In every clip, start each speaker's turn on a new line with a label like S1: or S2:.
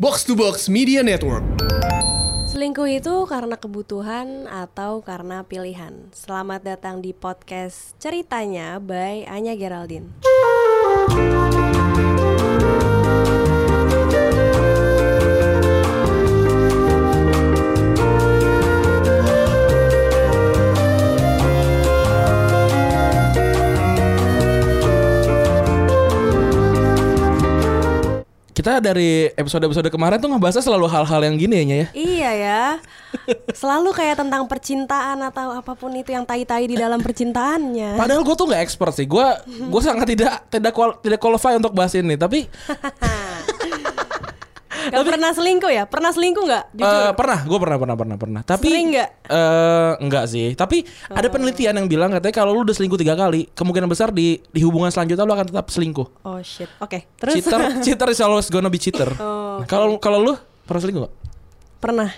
S1: Box to Box Media Network.
S2: Selingkuh itu karena kebutuhan atau karena pilihan. Selamat datang di podcast Ceritanya by Anya Geraldine.
S3: kita dari episode-episode kemarin tuh ngebahasnya selalu hal-hal yang gini ya Nya, ya.
S2: Iya ya. Selalu kayak tentang percintaan atau apapun itu yang tai-tai di dalam percintaannya.
S3: Padahal gue tuh nggak expert sih. Gue gue sangat tidak tidak kual, tidak qualify untuk bahas ini. Tapi
S2: Gak pernah selingkuh ya? Pernah selingkuh nggak? Jujur.
S3: eh, pernah, gue pernah pernah pernah pernah. Tapi
S2: Sering nggak? Oh.
S3: eh, nggak sih. Tapi ada penelitian yang bilang katanya kalau lu udah selingkuh tiga kali, kemungkinan besar di di hubungan selanjutnya lu akan tetap selingkuh.
S2: Oh shit. Oke, terus
S3: Cheater, cheater is always gonna be cheater.
S2: Oh,
S3: Nah, Kalau kalau lu pernah selingkuh nggak?
S2: pernah.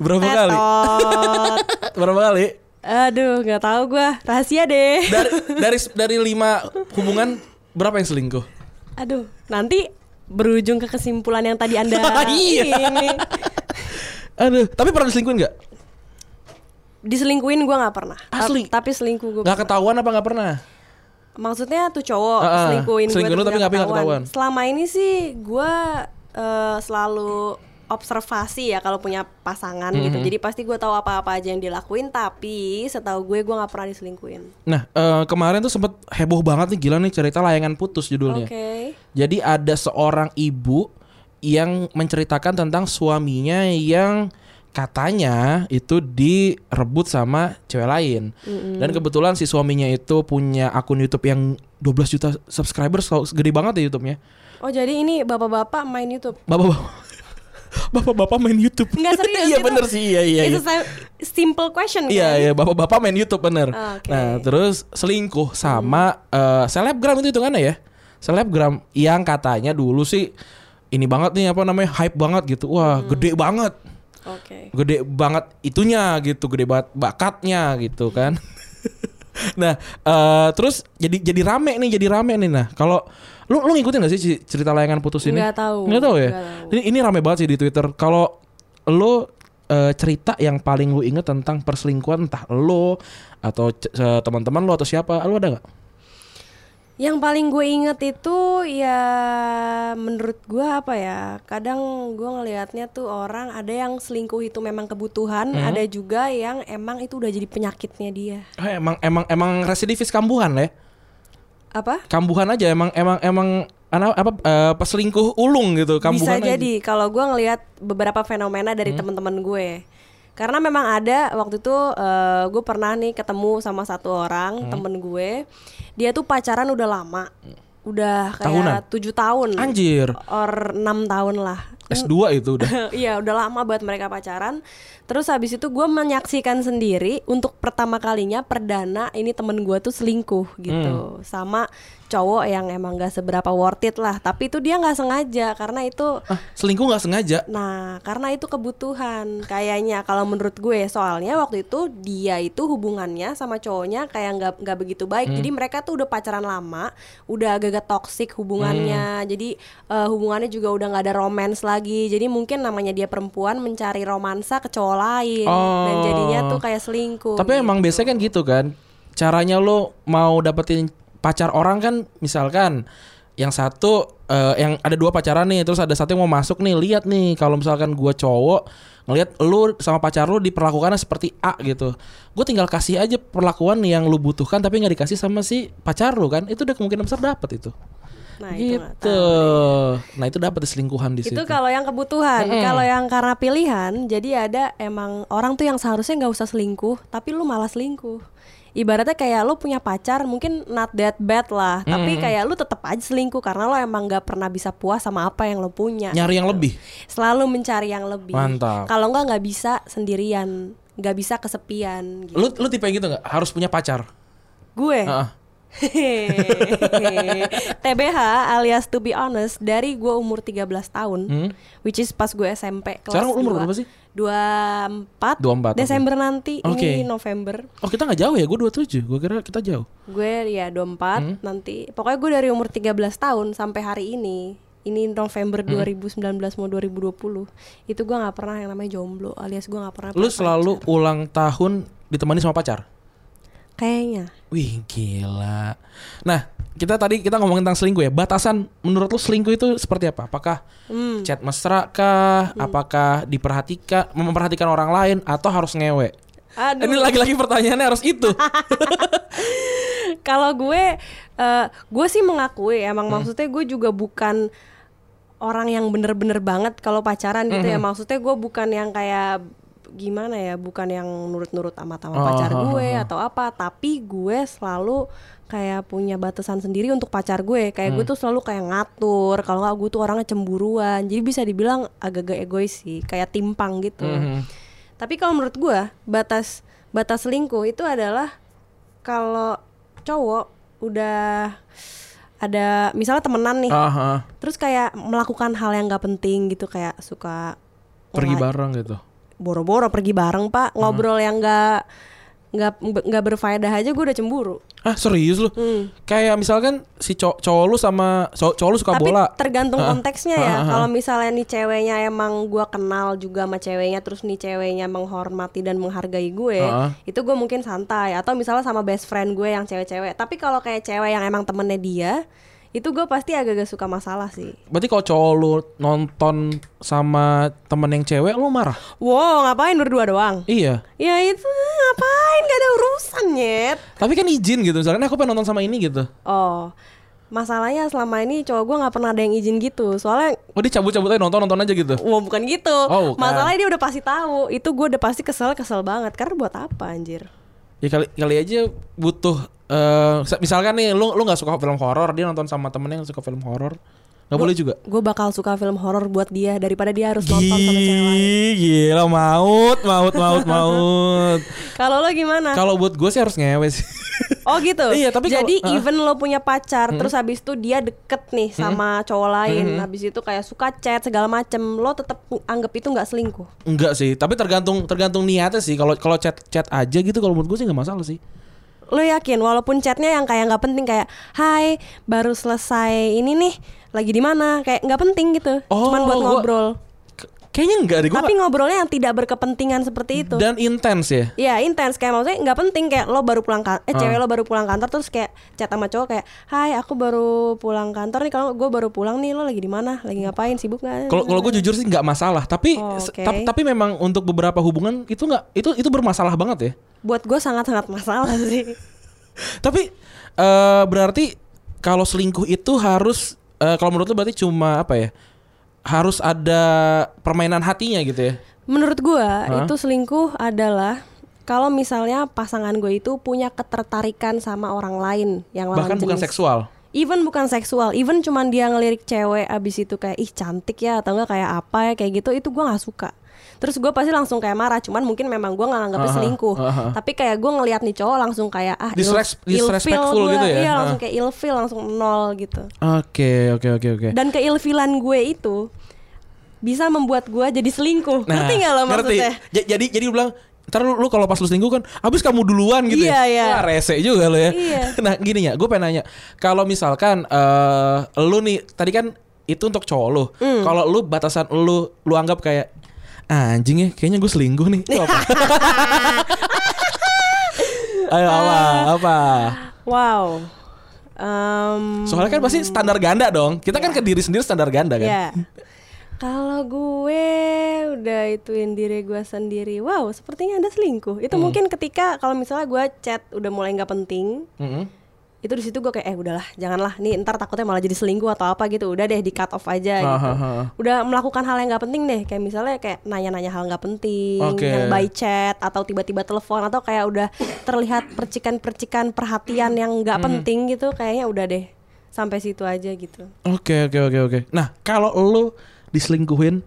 S3: Berapa kali?
S2: Tetot.
S3: Berapa kali?
S2: Aduh, nggak tahu gua. Rahasia deh.
S3: Dari dari dari lima hubungan berapa yang selingkuh?
S2: Aduh, nanti berujung ke kesimpulan yang tadi Anda
S3: Iya.
S2: ini.
S3: Aduh, tapi pernah diselingkuhin nggak?
S2: Diselingkuin gua nggak pernah. Ta-
S3: Asli?
S2: Tapi selingkuh gua.
S3: Nggak ketahuan apa nggak pernah?
S2: Maksudnya tuh cowok
S3: Ah, ah.
S2: selingkuhin gua
S3: Selingkuh lu tapi nggak- tapi nggak ketahuan.
S2: Selama ini sih gua eh, selalu observasi ya kalau punya pasangan gitu. Jadi pasti gua tahu apa-apa aja yang dilakuin tapi setahu gue gua nggak pernah diselingkuhin.
S3: Nah, eh, kemarin tuh sempet heboh banget nih gila nih cerita layangan putus judulnya.
S2: Oke.
S3: Jadi ada seorang ibu yang menceritakan tentang suaminya yang katanya itu direbut sama cewek lain. Dan kebetulan si suaminya itu punya akun YouTube yang 12 juta subscribers, kalau gede banget ya YouTube-nya.
S2: Oh, jadi ini bapak-bapak main YouTube.
S3: Bapak-bapak Bapak-bapak main YouTube.
S2: Enggak serius. gitu.
S3: Iya
S2: itu-
S3: bener sih, iya iya. iya.
S2: It's a sim- simple question
S3: Iya
S2: kan? Ah,
S3: iya bapak-bapak main YouTube bener.
S2: Oke. Hmm.
S3: Nah terus selingkuh sama eh, selebgram itu hitungannya ya. Selebgram yang katanya dulu sih ini banget nih apa namanya hype banget gitu. Wah
S2: Hmm.
S3: gede banget,
S2: Oke.
S3: gede banget itunya gitu, gede banget bakatnya gitu kan. nah eh, terus jadi jadi rame nih, jadi rame nih nah. Kalau lu lu ngikutin gak sih ci- cerita layangan putus ini?
S2: Nggak tahu.
S3: Nggak tahu ya.
S2: Nggak tahu.
S3: Ini ini rame banget sih di Twitter. Kalau lo eh, cerita yang paling lu inget tentang perselingkuhan entah lo atau c- eh, teman-teman lo atau siapa, lo ada nggak?
S2: Yang paling gue inget itu ya menurut gue apa ya Kadang gue ngelihatnya tuh orang ada yang selingkuh itu memang kebutuhan
S3: Hmm.
S2: Ada juga yang emang itu udah jadi penyakitnya dia
S3: Eh, emang emang emang residivis kambuhan ya.
S2: Apa?
S3: Kambuhan aja emang emang emang ana- apa eh, perselingkuh ulung gitu
S2: Bisa
S3: kambuhan.
S2: jadi kalau gue ngelihat beberapa fenomena dari
S3: Hmm.
S2: teman-teman gue karena memang ada waktu itu eh, gue pernah nih ketemu sama satu orang
S3: Hmm.
S2: temen gue dia tuh pacaran udah lama udah
S3: Tahunan?
S2: kayak tujuh tahun
S3: Aja. Anjir.
S2: or enam tahun lah
S3: S2 itu udah.
S2: Iya udah lama buat mereka pacaran Terus habis itu gue menyaksikan sendiri Untuk pertama kalinya perdana ini temen gue tuh selingkuh gitu Sama cowok yang emang gak seberapa worth it lah Tapi itu dia gak sengaja karena itu
S3: Ah, selingkuh nggak sengaja.
S2: Nah karena itu kebutuhan Kayaknya kalau menurut gue ya. Soalnya waktu itu dia itu hubungannya sama cowoknya Kayak gak, nggak begitu baik
S3: Hmm.
S2: Jadi mereka tuh udah pacaran lama Udah agak-agak toksik hubungannya
S3: Hmm.
S2: Jadi eh, hubungannya juga udah gak ada romance lagi Jadi mungkin namanya dia perempuan Mencari romansa ke cowok lain Dan
S3: Oh.
S2: jadinya tuh kayak selingkuh
S3: Tapi emang biasanya kan gitu kan. Caranya lo mau dapetin pacar orang kan misalkan yang satu eh, yang ada dua pacaran nih terus ada satu yang mau masuk nih lihat nih kalau misalkan gua cowok ngelihat lu sama pacar lu diperlakukannya seperti A gitu. Gue tinggal kasih aja perlakuan yang lu butuhkan tapi nggak dikasih sama si pacar lu kan. Itu udah kemungkinan besar dapat itu.
S2: Nah, itu nggak
S3: gitu. Nah, itu dapat selingkuhan di situ.
S2: Itu kalau yang kebutuhan, kalau yang karena pilihan, jadi ada emang orang tuh yang seharusnya nggak usah selingkuh, tapi lu malah selingkuh. Ibaratnya kayak lu punya pacar mungkin not that bad lah, tapi kayak lu tetap aja selingkuh karena lo emang nggak pernah bisa puas sama apa yang lo punya.
S3: Nyari yang lebih.
S2: Selalu mencari yang lebih.
S3: Ya. Mantap.
S2: Kalau nggak nggak bisa sendirian, nggak bisa kesepian. Gitu.
S3: Lu lu tipe yang gitu nggak? Harus punya pacar.
S2: Gue.
S3: Heeh.
S2: Hehehe. TBH alias to be honest dari gue umur 13 tahun which is pas gue SMP kelas
S3: Hmm? Sekarang umur
S2: dua.
S3: berapa sih?
S2: 24
S3: 24, oke.
S2: Desember nanti
S3: Oke.
S2: ini November
S3: Oh, kita nggak jauh ya. Gue 27. Gue kira kita jauh. Hmm?
S2: gue ya 24 nanti pokoknya gue dari umur 13 tahun sampai hari ini ini November
S3: Hmm.
S2: 2019 mau 2020 itu gua nggak pernah yang namanya jomblo alias gua nggak pernah punya
S3: Lu selalu
S2: pacar.
S3: ulang tahun ditemani sama pacar?
S2: kayaknya
S3: Wih gila. Nah kita tadi kita ngomongin tentang selingkuh ya. Batasan menurut lu selingkuh itu seperti apa? Apakah
S2: hmm.
S3: chat mesra kah? Apakah diperhatikan memperhatikan orang lain atau harus ngewe?
S2: aduh
S3: Ini lagi-lagi pertanyaannya harus itu.
S2: kalau gue eh, gue sih mengakui
S3: Hmm.
S2: emang maksudnya gue juga bukan orang yang bener-bener banget kalau pacaran gitu ya maksudnya gue bukan yang kayak gimana ya bukan yang nurut-nurut amat sama
S3: Oh,
S2: pacar
S3: oh,
S2: gue
S3: oh, oh.
S2: atau apa tapi gue selalu kayak punya batasan sendiri untuk pacar gue kayak
S3: Hmm.
S2: gue tuh selalu kayak ngatur kalau nggak gue tuh orangnya cemburuan jadi bisa dibilang agak-agak egois sih kayak timpang gitu
S3: Mhm.
S2: tapi kalau menurut gua batas batas selingkuh itu adalah kalau cowok udah ada misalnya temenan nih,
S3: Aha.
S2: terus kayak melakukan hal yang nggak penting gitu kayak suka
S3: Pergi Hmm.
S2: ngela-
S3: bareng gitu.
S2: boro-boro pergi bareng pak ngobrol yang nggak nggak nggak berfaedah aja gua udah cemburu.
S3: Ah serius lu?
S2: Hmm.
S3: Kayak misalkan si cow- cowok lu sama cow- cowok lu suka
S2: Tapi
S3: bola.
S2: tergantung
S3: Ah,
S2: konteksnya
S3: ah,
S2: ya.
S3: ah, ah.
S2: Kalau misalnya nih ceweknya emang gua kenal juga sama ceweknya, terus nih ceweknya menghormati dan menghargai gue,
S3: Ah.
S2: itu gue mungkin santai. Atau misalnya sama best friend gue yang cewek-cewek. Tapi kalau kayak cewek yang emang temennya dia, itu gue pasti agak-agak suka masalah sih.
S3: Berarti kalau cowok lu nonton sama temen yang cewek lu marah?
S2: Wow, ngapain berdua doang?
S3: Iya.
S2: Ya itu eh, ngapain? Gak ada urusan nyet.
S3: Tapi kan izin gitu. Misalkan aku pengen nonton sama ini gitu.
S2: Oh, masalahnya selama ini cowok gue nggak pernah ada yang izin gitu. Soalnya
S3: Oh dia cabut-cabut aja nonton-nonton aja gitu.
S2: Wah bukan gitu
S3: Oh, bukan.
S2: Masalahnya dia udah pasti tahu Itu gue udah pasti kesel-kesel banget Karena buat apa anjir
S3: Ya kali kali aja butuh eh misalkan nih lu lu nggak suka film horor, dia nonton sama temennya yang suka film horor. Nggak boleh juga.
S2: Gue bakal suka film horor buat dia Daripada dia harus nonton sama cewek lain
S3: Gih, gila maut, maut, maut, maut.
S2: Kalau lo gimana?
S3: Kalau buat gue sih harus ngewe sih.
S2: Oh gitu
S3: Iya, tapi kalau- Hmm?
S2: Jadi
S3: ah.
S2: even lo punya pacar Terus habis itu dia deket nih sama
S3: Hmm?
S2: cowok lain Habis itu kayak suka chat segala macem Lo tetap anggap itu nggak selingkuh
S3: Enggak sih, tapi tergantung tergantung niatnya sih. Kalau kalau chat chat aja gitu kalau menurut gue sih nggak masalah sih.
S2: Lo yakin walaupun chatnya yang kayak nggak penting Kayak Hai baru selesai ini nih Lagi di mana Kayak nggak penting gitu
S3: Oh,
S2: Cuman buat
S3: gua- Ya,
S2: ngobrol
S3: K- kayaknya enggak deh gue.
S2: Tapi ngobrolnya yang tidak berkepentingan seperti itu
S3: Dan intens ya.
S2: Ya intens kayak maksudnya nggak penting kayak lo baru pulang kantor, eh
S3: Ah.
S2: cewek lo baru pulang kantor terus kayak chat sama cowok kayak, Hai aku baru pulang kantor nih kalau gue baru pulang nih lo lagi di mana, lagi ngapain, sibuk nggak?
S3: Kalau kalau gue jujur sih nggak masalah, tapi
S2: Oh,
S3: se-
S2: oke.
S3: tap- tapi memang untuk beberapa hubungan itu nggak itu itu bermasalah banget ya.
S2: buat gue sangat sangat masalah sih.
S3: Tapi eh berarti kalau selingkuh itu harus eh, kalau menurut lu berarti cuma apa ya? Harus ada permainan hatinya gitu ya.
S2: Menurut gue
S3: Hah?
S2: itu selingkuh adalah kalau misalnya pasangan gue itu punya ketertarikan sama orang lain yang lawan
S3: Bahkan bukan
S2: jenis.
S3: seksual.
S2: Even bukan seksual, even cuman dia ngelirik cewek abis itu kayak ih cantik ya atau enggak kayak apa ya kayak gitu itu gua nggak suka. Terus gua pasti langsung kayak marah, cuman mungkin memang gua nggak nganggapnya
S3: Aha,
S2: selingkuh.
S3: aha.
S2: Tapi kayak gua ngelihat nih cowok langsung kayak ah ill-
S3: Disres-
S2: ill-feel
S3: disrespectful
S2: gua.
S3: gitu ya?
S2: Iya langsung
S3: Ah.
S2: kayak ilfil langsung nol gitu.
S3: Oke, oke, oke, oke.
S2: Dan keilfilan gue itu bisa membuat gua jadi selingkuh. ngerti nggak lo
S3: Nah, ngerti.
S2: maksudnya?
S3: Ja- Jadi jadi lu bilang Ntar lu, lu kalau pas lu selingkuh kan Abis kamu duluan gitu
S2: Iya,
S3: ya
S2: iya.
S3: Wah, rese juga lu ya
S2: Iya.
S3: Nah gini ya Gue pengen nanya Kalau misalkan eh Lu nih Tadi kan Itu untuk cowok lu
S2: Hmm.
S3: Kalau lu batasan lu Lu anggap kayak Anjing ya Kayaknya gue selingkuh nih Itu apa? Ayo apa
S2: Ah.
S3: Apa
S2: Wow. Em,
S3: Soalnya kan pasti standar ganda dong Kita
S2: Iya.
S3: kan ke diri sendiri standar ganda kan
S2: Ya. Kalau gue udah ituin diri gue sendiri, wow, sepertinya ada selingkuh. Itu mungkin ketika kalau misalnya gue chat udah mulai nggak penting,
S3: Mm-mm.
S2: itu di situ gue kayak eh udahlah, janganlah. Nih ntar takutnya malah jadi selingkuh atau apa gitu. Udah deh di cut off aja gitu.
S3: Ahaha.
S2: Udah melakukan hal yang nggak penting deh, kayak misalnya kayak nanya-nanya hal nggak penting,
S3: Oke.
S2: yang by chat atau tiba-tiba telepon atau kayak udah terlihat percikan-percikan perhatian yang nggak penting gitu. Kayaknya udah deh sampai situ aja gitu.
S3: Oke oke oke oke. Nah kalau lu diselingkuhin,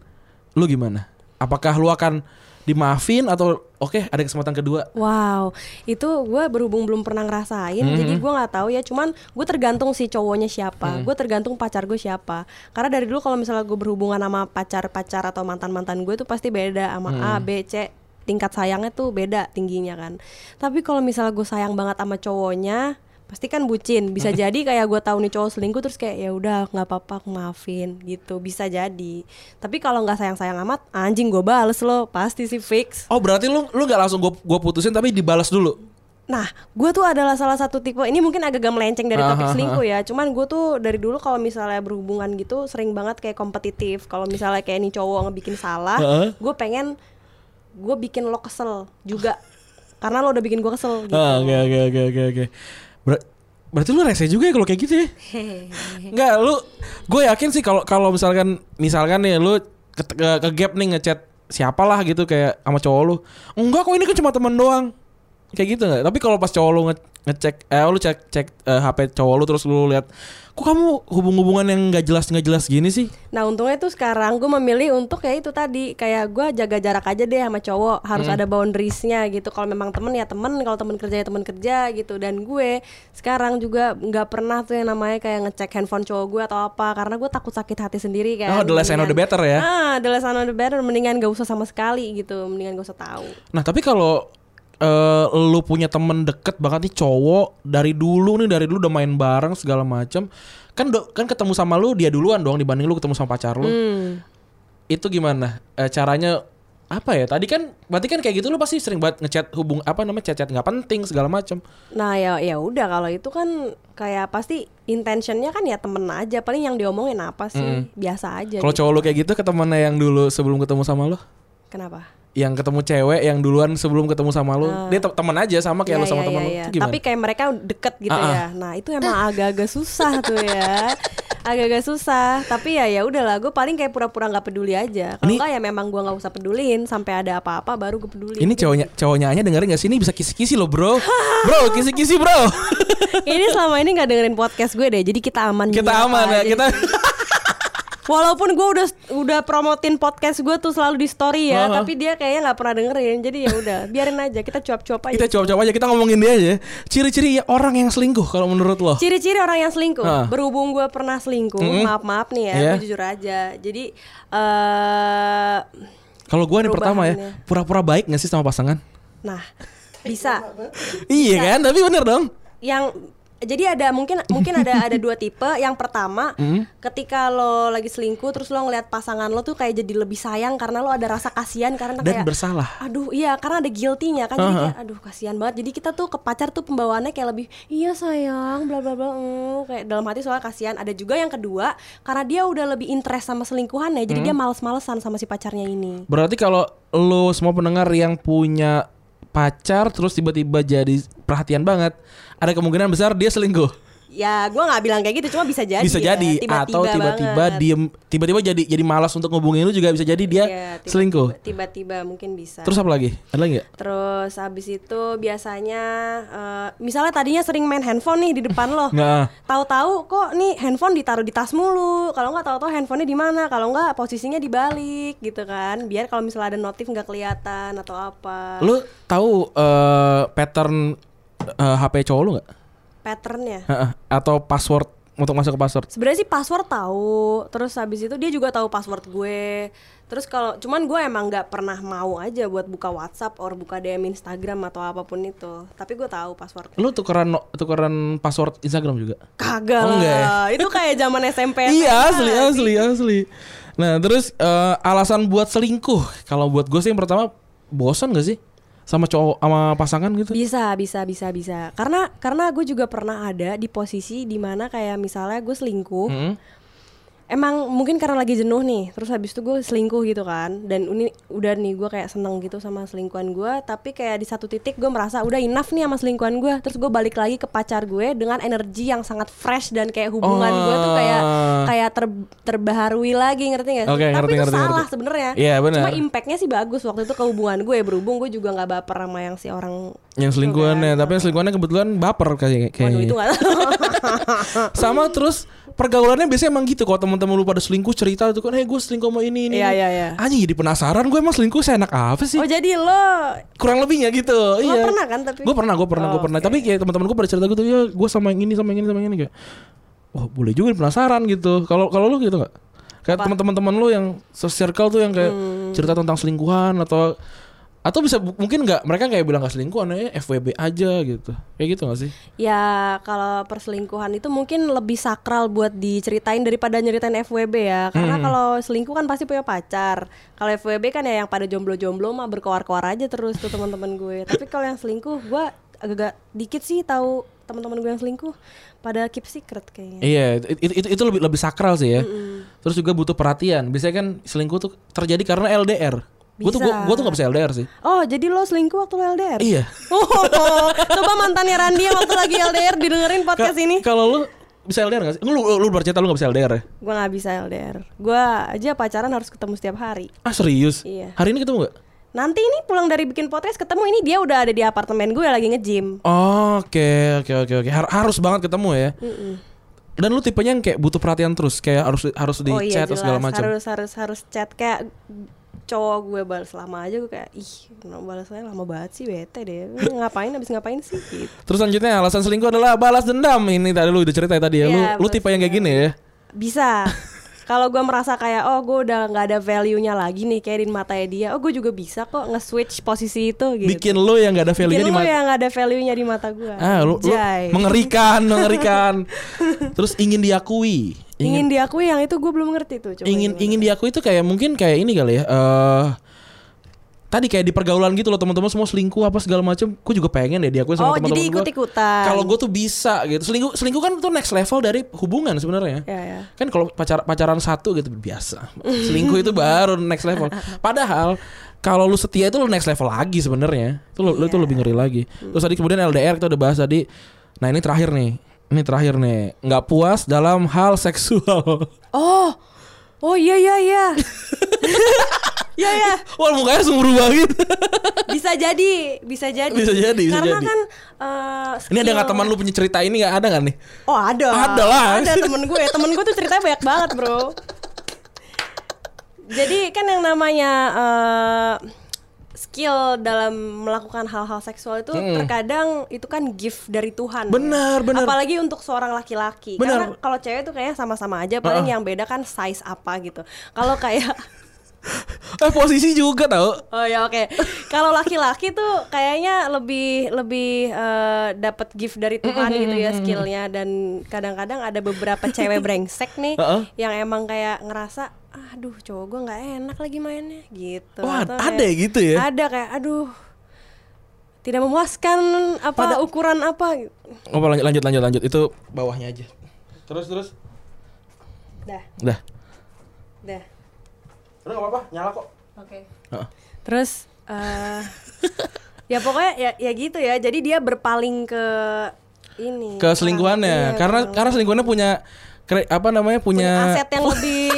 S3: lu gimana? Apakah lu akan dimaafin atau oke ada kesempatan kedua?
S2: Wow, itu gue berhubung belum pernah ngerasain, jadi gue nggak tahu ya. Cuman gue tergantung si cowoknya siapa, gue tergantung pacar gue siapa. Karena dari dulu kalau misalnya gue berhubungan sama pacar-pacar atau mantan-mantan gue tuh pasti beda sama A, B, C. Tingkat sayangnya tuh beda tingginya kan. Tapi kalau misalnya gue sayang banget sama cowoknya, pasti kan bucin bisa jadi kayak gue tahu nih cowok selingkuh terus kayak ya udah nggak apa-apa aku maafin gitu bisa jadi tapi kalau nggak sayang sayang amat anjing gue bales lo pasti sih fix
S3: Oh berarti lu lu nggak langsung gua gua putusin tapi dibalas dulu.
S2: Nah, gue tuh adalah salah satu tipe ini mungkin agak gak melenceng dari topik
S3: Aha,
S2: selingkuh ya. Cuman gue tuh dari dulu kalau misalnya berhubungan gitu sering banget kayak kompetitif. Kalau misalnya kayak nih cowok ngebikin salah,
S3: Heeh.
S2: gue pengen gue bikin lo kesel juga karena lo udah bikin gue kesel. Gitu.
S3: Ah, Oke oke oke oke oke. Ber- berarti lu rese juga ya kalau kayak gitu ya? Enggak, lu gue yakin sih kalau kalau misalkan misalkan nih lu ke, ke, ke gap nih ngechat siapalah gitu kayak sama cowok lu. Enggak kok ini kan cuma teman doang. Kayak gitu enggak? Tapi kalau pas cowok lu nge- ngecek eh lu cek cek eh, HP cowok lu terus lu lihat kok kamu hubung-hubungan yang nggak jelas nggak jelas gini sih?
S2: Nah untungnya tuh sekarang gue memilih untuk kayak itu tadi kayak gue jaga jarak aja deh sama cowok harus
S3: Hmm.
S2: ada boundariesnya gitu kalau memang temen ya temen kalau temen kerja ya temen kerja gitu dan gue sekarang juga nggak pernah tuh yang namanya kayak ngecek handphone cowok gue atau apa karena gue takut sakit hati sendiri kan
S3: Oh, the less I know, the
S2: Mendingan-
S3: better ya.
S2: ah the less I know, the better mendingan gak usah sama sekali gitu mendingan gak usah tahu
S3: Nah tapi kalau eh, lu punya temen deket banget nih cowok dari dulu nih dari dulu udah main bareng segala macam kan do- kan ketemu sama lu dia duluan dong dibanding lu ketemu sama pacar lu
S2: Hmm.
S3: itu gimana Eh, caranya apa ya tadi kan berarti kan kayak gitu lu pasti sering banget ngechat hubung apa namanya chat-chat nggak penting segala macam
S2: Nah ya ya udah kalau itu kan kayak pasti intentionnya kan ya temen aja paling yang diomongin apa sih biasa aja
S3: Hmm. kalau
S2: gitu.
S3: cowok lu kayak gitu ke temennya yang dulu sebelum ketemu sama lu
S2: kenapa
S3: yang ketemu cewek yang duluan sebelum ketemu sama lu dia te- teman aja sama
S2: Ah.
S3: kayak
S2: Iya,
S3: lu sama
S2: iya,
S3: teman
S2: iya,
S3: lu
S2: iya.
S3: Itu gimana?
S2: Tapi kayak mereka deket gitu
S3: Ah,
S2: ya. Nah itu emang agak-agak susah tuh ya. Agak-agak susah. Tapi ya ya udahlah. Gue paling kayak pura-pura nggak peduli aja. Kalau
S3: Ini-
S2: nggak ya memang gue nggak usah pedulin. Sampai ada apa-apa baru gue peduli.
S3: Ini cowoknya cowoknya Anya dengerin gak sih? Ini bisa kisi-kisi loh bro Bro kisi-kisi bro
S2: Ini selama ini nggak dengerin podcast gue deh. Jadi kita aman.
S3: Kita
S2: juga
S3: aman
S2: apa aja.
S3: ya Kita
S2: Walaupun gue udah udah promotin podcast gue tuh selalu di story ya.
S3: Ah, ah.
S2: Tapi dia kayaknya nggak pernah dengerin. Jadi ya udah. Biarin aja. Kita cuap-cuap aja.
S3: kita coba-coba aja Kita ngomongin dia aja Ciri-ciri ya orang yang selingkuh Kalau menurut lo
S2: Ciri-ciri orang yang selingkuh.
S3: Ah.
S2: Berhubung gue pernah selingkuh, maaf-maaf nih ya,
S3: Iya.
S2: gue jujur aja. Jadi eh
S3: Kalau gua nih pertama ya
S2: Perubahannya.
S3: Pura-pura baik gak sih sama pasangan?
S2: nah, bisa.
S3: Iya kan? Tapi bener dong
S2: Yang jadi ada mungkin mungkin ada ada dua tipe. Yang pertama, ketika lo lagi selingkuh terus lo ngeliat pasangan lo tuh kayak jadi lebih sayang karena lo ada rasa kasihan karena
S3: Dan
S2: kayak
S3: bersalah
S2: Aduh, iya karena ada guilty-nya kan jadi kayak aduh kasihan banget. Jadi kita tuh ke pacar tuh pembawaannya kayak lebih iya sayang bla bla bla mm," kayak dalam hati soalnya kasihan. Ada juga yang kedua karena dia udah lebih interest sama selingkuhannya jadi
S3: Hmm.
S2: dia males-malesan sama si pacarnya ini.
S3: Berarti kalau lo semua pendengar yang punya pacar Terus tiba-tiba jadi perhatian banget Ada kemungkinan besar dia selingkuh
S2: Ya, gua nggak bilang kayak gitu cuma bisa jadi.
S3: bisa
S2: ya,
S3: jadi atau tiba-tiba
S2: banget.
S3: diem tiba-tiba jadi jadi malas untuk ngubungin lu juga bisa jadi dia
S2: Iya, tiba-
S3: selingkuh
S2: Tiba-tiba mungkin bisa.
S3: Terus apa lagi? Ada lagi gak?
S2: Terus habis itu biasanya eh, misalnya tadinya sering main handphone nih di depan lo.
S3: Nah.
S2: Tahu-tahu kok nih handphone ditaruh di tas mulu. Kalau nggak tahu-tahu handphonenya di mana? Kalau nggak posisinya dibalik gitu kan. Biar kalau misalnya ada notif nggak kelihatan atau apa.
S3: Lu tahu eh, pattern eh, HP cowok lu gak?
S2: Patternnya.
S3: Heeh. Atau password untuk masuk ke password?
S2: Sebenarnya sih password tahu. Terus habis itu dia juga tahu password gue. Terus kalau cuman gue emang nggak pernah mau aja buat buka WhatsApp or buka DM Instagram atau apapun itu. Tapi gue tahu password.
S3: Lu tukeran no- tukeran password Instagram juga?
S2: Kagak
S3: Oh, enggak
S2: lah. Itu kayak zaman SMP. SMA.
S3: Iya asli asli asli. Nah terus eh, alasan buat selingkuh kalau buat gue sih yang pertama bosan gak sih sama cowok sama pasangan gitu?
S2: Bisa, bisa, bisa, bisa. Karena karena gue juga pernah ada di posisi dimana kayak misalnya gue selingkuh.
S3: Mm-mm.
S2: Emang mungkin karena lagi jenuh nih, terus habis itu gue selingkuh gitu kan, dan ini udah nih gue kayak seneng gitu sama selingkuhan gue, tapi kayak di satu titik gue merasa udah enough nih sama selingkuhan gue, terus gue balik lagi ke pacar gue dengan energi yang sangat fresh dan kayak hubungan gue tuh kayak
S3: Oh.
S2: kayak ter- terbaharui lagi ngerti gak sih?
S3: Oke,
S2: tapi
S3: ngerti,
S2: itu
S3: ngerti,
S2: salah
S3: ngerti.
S2: sebenarnya.
S3: Iya, benar.
S2: Cuma impactnya sih bagus waktu itu ke hubungan gue, berhubung gue juga nggak baper sama yang si orang
S3: Yang selingkuhannya, tapi yang selingkuhannya kebetulan baper
S2: gitu
S3: kayak
S2: kan. Waduh
S3: kayaknya.
S2: itu gak tahu.
S3: sama terus pergaulannya biasanya emang gitu kalau teman-teman lu pada selingkuh cerita tuh kan hey gue selingkuh sama ini ini
S2: Iya,
S3: ini."
S2: iya, iya.
S3: anjing jadi penasaran gue emang selingkuh saya enak apa sih
S2: Oh jadi lo
S3: kurang lebihnya gitu
S2: Lo
S3: iya
S2: pernah kan tapi?
S3: gue pernah gue pernah gue
S2: Oh,
S3: pernah tapi kayak teman-teman gue pada cerita gitu ya gue sama yang ini sama yang ini sama yang ini kayak wah boleh juga penasaran gitu kalau kalau lu gitu nggak
S2: Hmm.
S3: kayak teman-teman teman lu yang circle tuh yang kayak cerita tentang selingkuhan atau Atau bisa bu- mungkin nggak mereka kayak bilang gak selingkuh anaknya FWB aja gitu. Kayak gitu gak sih?
S2: Ya kalau perselingkuhan itu mungkin lebih sakral buat diceritain daripada nyeritain FWB ya Karena
S3: Hmm.
S2: kalau selingkuh kan pasti punya pacar Kalau FWB kan ya yang pada jomblo-jomblo mah berkoar-koar aja terus tuh teman-teman gue Tapi kalau yang selingkuh gue agak dikit sih tahu teman-teman gue yang selingkuh Pada keep secret kayaknya
S3: Iya, itu, itu, itu lebih lebih sakral sih ya. Terus juga butuh perhatian. Biasanya kan selingkuh tuh terjadi karena LDR. Gue tuh gua,
S2: Bisa.
S3: gua tuh gak bisa LDR sih.
S2: Oh jadi lo selingkuh waktu lo LDR?
S3: Iya.
S2: Oh, coba mantannya Randi yang waktu lagi LDR didengerin
S3: Ka-
S2: podcast ini
S3: Kalau lu bisa LDR gak sih? Lu, lu, lu bercerita lu gak bisa LDR ya?
S2: Gue gak bisa LDR Gue aja pacaran harus ketemu setiap hari
S3: Ah serius?
S2: Iya.
S3: Hari ini ketemu gak?
S2: Nanti ini pulang dari bikin podcast ketemu ini dia udah ada di apartemen gue lagi nge-gym.
S3: Oke, oke, oke, oke. Har- harus banget ketemu ya. Dan lu tipenya yang kayak butuh perhatian terus, kayak harus harus di chat atau segala macam.
S2: Oh iya, Harus harus harus chat kayak cowok gue balas lama aja gue kayak ih no balasnya lama banget sih bete deh ngapain abis ngapain sih gitu.
S3: Terus selanjutnya alasan selingkuh adalah balas dendam. Ini tadi lu udah cerita ya tadi ya.
S2: Iya,
S3: lu lu
S2: balas
S3: tipe yang kayak gini ya.
S2: bisa kalau gue merasa kayak oh gue udah nggak ada value nya lagi nih kayak di matanya dia oh gue juga bisa kok nge-switch posisi itu gitu
S3: Bikin lu yang gak ada value-nya
S2: Bikin
S3: di
S2: lu
S3: mata.
S2: yang nggak ada value nya di mata gue
S3: Ah, lu, lu
S2: Anjay.
S3: mengerikan, mengerikan. Terus ingin diakui.
S2: ingin, diakui yang itu gue belum ngerti tuh coba
S3: ingin
S2: gimana.
S3: ingin diakui itu kayak mungkin kayak ini kali ya. eh tadi kayak di pergaulan gitu loh teman-teman semua selingkuh apa segala macam. Gue juga pengen deh diakui
S2: Oh,
S3: sama teman-teman.
S2: jadi
S3: gua.
S2: ikut-ikutan.
S3: Kalau gue tuh bisa gitu. Selingkuh selingkuh kan tuh next level dari hubungan sebenarnya.
S2: Ya, ya.
S3: Kan kalau pacar pacaran satu gitu biasa. Selingkuh itu baru next level. Padahal kalau lu setia itu lu next level lagi sebenarnya. Itu lu, lu tuh lebih ngeri lagi. Terus tadi kemudian LDR kita udah bahas tadi. Nah, ini terakhir nih. Ini terakhir nih. nggak puas dalam hal seksual.
S2: Oh, oh iya iya iya. Ya ya,
S3: Wah mukanya langsung berubah gitu.
S2: bisa jadi, bisa jadi.
S3: Bisa jadi, bisa
S2: Karena
S3: jadi.
S2: kan eh,
S3: Ini ada
S2: skill-
S3: nggak teman lu punya cerita ini nggak ada nggak nih?
S2: Oh, ada.
S3: Ada lah.
S2: Ada temen gue, temen gue tuh ceritanya banyak banget, Bro. Jadi kan yang namanya eh, skill dalam melakukan hal-hal seksual itu terkadang itu kan gift dari Tuhan. ya.
S3: Benar, benar.
S2: Apalagi untuk seorang laki-laki.
S3: Benar.
S2: Karena kalau cewek tuh kayaknya sama-sama aja, paling
S3: Ah.
S2: yang beda kan size apa gitu. Kalau kayak
S3: Eh posisi juga tau.
S2: Oh ya oke. Kalau laki-laki tuh kayaknya lebih lebih eh, dapat gift dari Tuhan gitu ya skillnya dan kadang-kadang ada beberapa cewek brengsek nih
S3: Heeh.
S2: yang emang kayak ngerasa aduh cowok gue nggak enak lagi mainnya gitu.
S3: Wah,
S2: Atau
S3: ada ya gitu ya?
S2: Ada kayak aduh tidak memuaskan apa ukuran apa gitu.
S3: Oh, lanjut lanjut lanjut lanjut itu bawahnya aja. Terus terus.
S2: Dah,
S3: Udah.
S2: dah.
S3: Udah nggak apa-apa nyala kok.
S2: Oke. Terus eh, ya pokoknya ya, ya gitu ya. Jadi dia berpaling ke ini
S3: Ke selingkuhannya
S2: Iya,
S3: karena
S2: betul.
S3: karena selingkuhannya punya kre, apa namanya
S2: punya
S3: punya,
S2: aset yang lebih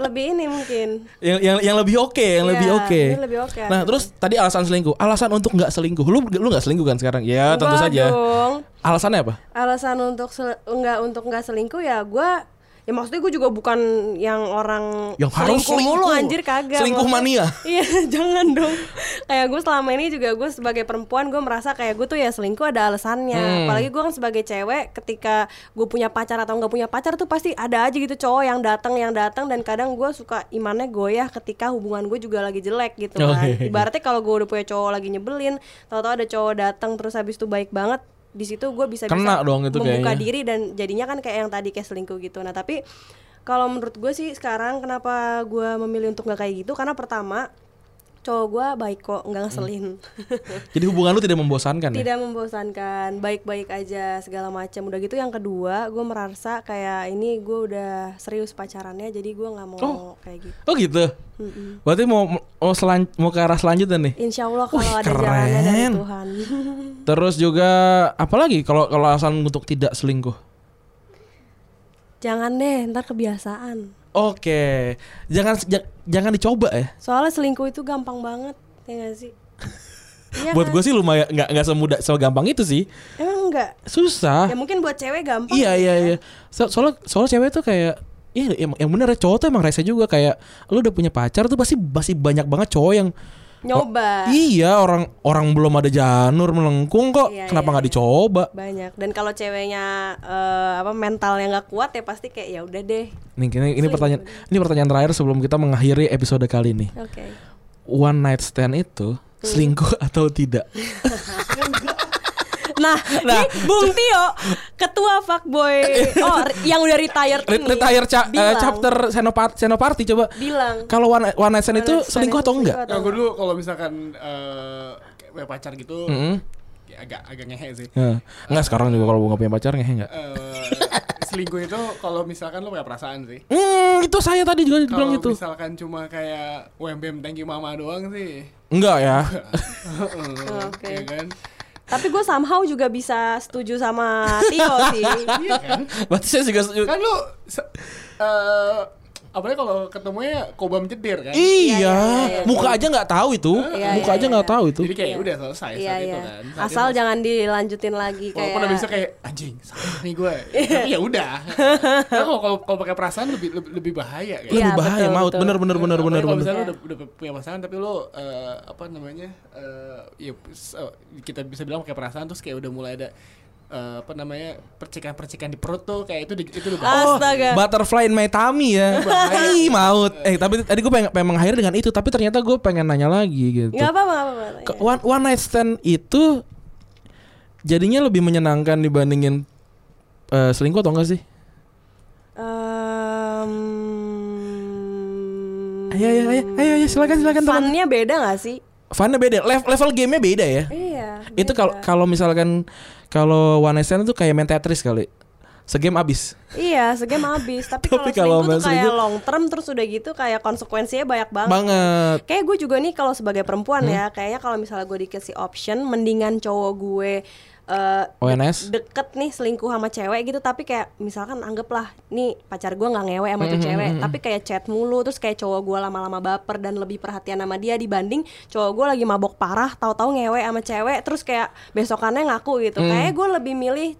S2: lebih ini mungkin
S3: yang yang yang lebih oke yang
S2: Iya,
S3: lebih oke.
S2: yang lebih oke.
S3: Nah terus tadi alasan selingkuh alasan untuk nggak selingkuh lu lu nggak selingkuh kan sekarang? Ya tentu
S2: Enggak
S3: saja.
S2: dong.
S3: Alasannya apa?
S2: alasan untuk sel- enggak untuk enggak selingkuh ya gua ya maksudnya gue juga bukan yang orang
S3: Yang harus
S2: mulu
S3: selingkuh.
S2: anjir kagak
S3: Selingkuh
S2: Maksudnya-
S3: mania.
S2: iya jangan dong kayak gue selama ini juga gue sebagai perempuan gue merasa kayak gue tuh ya selingkuh ada alasannya
S3: Hmm.
S2: apalagi gue kan sebagai cewek ketika gue punya pacar atau nggak punya pacar tuh pasti ada aja gitu cowok yang datang yang datang dan kadang gue suka imannya goyah ketika hubungan gue juga lagi jelek gitu kan
S3: Oke.
S2: ibaratnya kalau gue udah punya cowok lagi nyebelin tahu-tahu ada cowok datang terus habis itu baik banget di situ gue bisa bisa
S3: Kena dong itu
S2: membuka
S3: kayaknya.
S2: diri dan jadinya kan kayak yang tadi kayak selingkuh gitu nah tapi kalau menurut gue sih sekarang kenapa gue memilih untuk nggak kayak gitu karena pertama cowok gue baik kok nggak
S3: Hmm.
S2: ngeselin
S3: Jadi hubungan lu tidak membosankan ya?
S2: tidak membosankan baik-baik aja segala macam udah gitu yang kedua gue merasa kayak ini gue udah serius pacarannya jadi gue nggak mau
S3: Oh.
S2: kayak gitu
S3: Oh gitu. Berarti mau mau, selan, mau ke arah selanjutnya nih.
S2: Insya Allah
S3: Wih,
S2: kalau ada jalannya dari
S3: keren.
S2: Tuhan
S3: Terus juga apalagi kalau kalau alasan untuk tidak selingkuh.
S2: jangan deh ntar kebiasaan
S3: Oke, jangan ja- jangan dicoba ya.
S2: soalnya selingkuh itu gampang banget ya nggak sih Iya
S3: Buat
S2: kan?
S3: gue sih lumayan nggak nggak semudah segampang itu sih.
S2: emang enggak ya
S3: Susah.
S2: mungkin buat cewek gampang
S3: Ah. iya iya iya. So, soalnya soalnya cewek tuh kayak Iya, yang, yang bener ya cowok tuh emang rese juga kayak lu udah punya pacar tuh pasti pasti banyak banget cowok yang
S2: nyoba
S3: iya orang orang belum ada janur melengkung kok
S2: Iya,
S3: kenapa
S2: iya,
S3: nggak
S2: iya.
S3: dicoba
S2: banyak dan kalau ceweknya eh, apa mentalnya nggak kuat ya pasti kayak ya udah deh
S3: Nih, ini, ini pertanyaan ini pertanyaan terakhir sebelum kita mengakhiri episode kali ini.
S2: oke
S3: one night stand itu
S2: Hmm.
S3: selingkuh atau tidak?
S2: Nah, ini Bung Tio, ketua fuckboy, oh yang udah retired
S3: Re-
S2: ini,
S3: Retire ca- eh,
S2: bilang-
S3: chapter Senopati, Senopati coba.
S2: bilang
S3: Kalau one, one night
S2: One
S3: stand itu
S2: night stand
S3: selingkuh
S2: itu
S3: atau enggak?
S2: selingkuh
S4: Nah, gue dulu kalau misalkan eh, kayak punya pacar gitu
S3: Mm-mm.
S4: ya agak agak ngehe sih.
S3: Ya. Enggak sekarang juga kalau gue gak punya pacar ngehe enggak?
S4: Eh, selingkuh itu kalau misalkan lo punya perasaan sih.
S3: Hmm, itu saya tadi
S2: Oh,
S3: juga
S4: Kalau
S3: dibilang gitu.
S4: misalkan cuma kayak UMBM thank you mama doang sih.
S3: Enggak ya.
S4: Heeh,
S2: Oke.
S4: ya kan?
S2: Tapi gue somehow juga bisa setuju sama Tio sih.
S4: Iya kan?
S3: Berarti saya juga setuju.
S4: Kan lu se- eh, apalagi kalau ketemunya kobam jedir kan?
S3: Iya,
S2: iya, iya.
S3: muka aja nggak tahu itu.
S2: Iya,
S3: Muka
S2: iya,
S3: aja nggak
S2: iya.
S3: tahu itu.
S4: Jadi kayak
S2: Iya.
S4: udah
S2: Iya
S4: selesai
S3: gitu
S4: saat itu
S2: iya.
S4: kan.
S3: Nah,
S4: Saat
S2: Asal
S4: itu-
S2: jangan dilanjutin lagi kayak.
S4: Walaupun abis itu kayak anjing salah nih gue, tapi ya udah. Karena kalau kalau- kalau pakai perasaan lebih lebih, lebih bahaya kan.
S3: Lebih
S2: Iya,
S3: bahaya
S2: betul,
S3: maut.
S2: betul.
S3: Bener bener bener bener
S4: ya, Kalau
S3: bener.
S4: misalnya lu udah, udah punya pasangan tapi lu eh, apa namanya eh, ya s- eh, kita bisa bilang pakai perasaan terus kayak udah mulai ada eh, apa namanya percikan-percikan di perut tuh kayak itu di- itu udah bahaya.
S3: Oh,
S2: Astaga.
S3: butterfly in my tummy
S2: Iya,
S3: ya. Ih, maut. Eh, tapi tadi gue pengen, pengen mengakhiri dengan itu, tapi ternyata gue pengen nanya lagi gitu.
S2: Gak apa-apa, gak apa-apa.
S3: Ke- One, one night stand itu jadinya lebih menyenangkan dibandingin eh, selingkuh atau enggak sih?
S2: Em, Hmm.
S3: Ayo ayo ayo ayo, ayo, silakan silakan teman.
S2: Funnya beda gak sih?
S3: Funnya beda, Lev- level gamenya beda ya.
S2: Iya.
S3: Itu kalau
S2: beda.
S3: kalau misalkan kalau one night stand itu kayak main Tetris kali. Segame abis.
S2: Iya, segame habis. Tapi,
S3: Tapi
S2: kalau selingkuh tuh
S3: kalau main
S2: kayak
S3: selingkuh-
S2: long term terus udah gitu kayak konsekuensinya banyak banget.
S3: Banget.
S2: Kayak gue juga nih kalau sebagai perempuan ya, kayaknya kalau misalnya gue dikasih option, mendingan cowok gue eh,
S3: ONS.
S2: deket nih selingkuh sama cewek gitu, tapi kayak misalkan anggaplah nih pacar gue nggak ngewe sama tuh cewek, tapi kayak chat mulu, terus kayak cowok gue lama-lama baper dan lebih perhatian sama dia dibanding cowok gue lagi mabok parah, tahu-tahu ngewe sama cewek, terus kayak besokannya ngaku gitu. Kayaknya gue lebih milih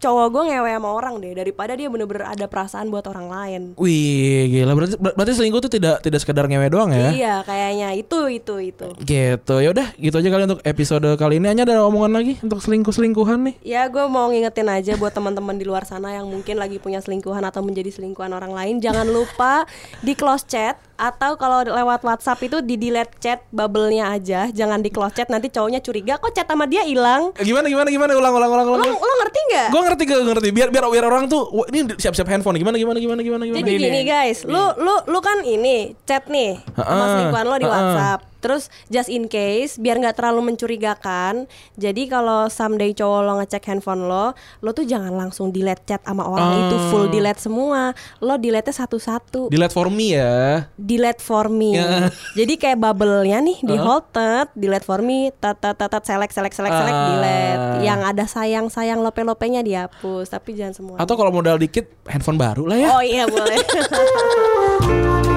S2: cowok gue ngewe sama orang deh daripada dia bener-bener ada perasaan buat orang lain.
S3: Wih, gila. Berarti ber- berarti selingkuh itu tidak tidak sekedar ngewe doang ya.
S2: Iya, kayaknya itu itu itu.
S3: Gitu. Ya udah, gitu aja kali untuk episode kali ini. Hanya ada omongan lagi untuk selingkuh-selingkuhan nih.
S2: Ya gue mau ngingetin aja buat teman-teman di luar sana yang mungkin lagi punya selingkuhan atau menjadi selingkuhan orang lain Jangan lupa di close chat atau kalau lewat whatsapp itu di delete chat bubble-nya aja Jangan di close chat nanti cowoknya curiga kok chat sama dia hilang
S3: Gimana gimana gimana ulang ulang ulang ulang.
S2: Lo, lo ngerti nggak?
S3: Gue ngerti gue ngerti. Biar biar biar orang tuh wah, ini siap-siap handphone. Gimana gimana gimana gimana gimana.
S2: Jadi gini guys, lu lu lu kan ini chat nih sama
S3: Ha-ha,
S2: selingkuhan lo di
S3: ha-ha.
S2: WhatsApp. Terus just in case biar nggak terlalu mencurigakan. Jadi kalau someday cowok lo ngecek handphone lo, lo tuh jangan langsung delete chat sama orang itu
S3: Ah.
S2: full delete semua. Lo delete satu-satu.
S3: Delete for me ya.
S2: Delete for me.
S3: Ya.
S2: Jadi kayak bubble-nya nih di hold tet, delete for me, tet tet tet tet, select select select select
S3: Ah.
S2: delete. Yang ada sayang-sayang lope-lopenya dihapus, tapi jangan semua. iya,
S3: Atau kalau modal dikit handphone baru lah ya.
S2: Oh iya boleh.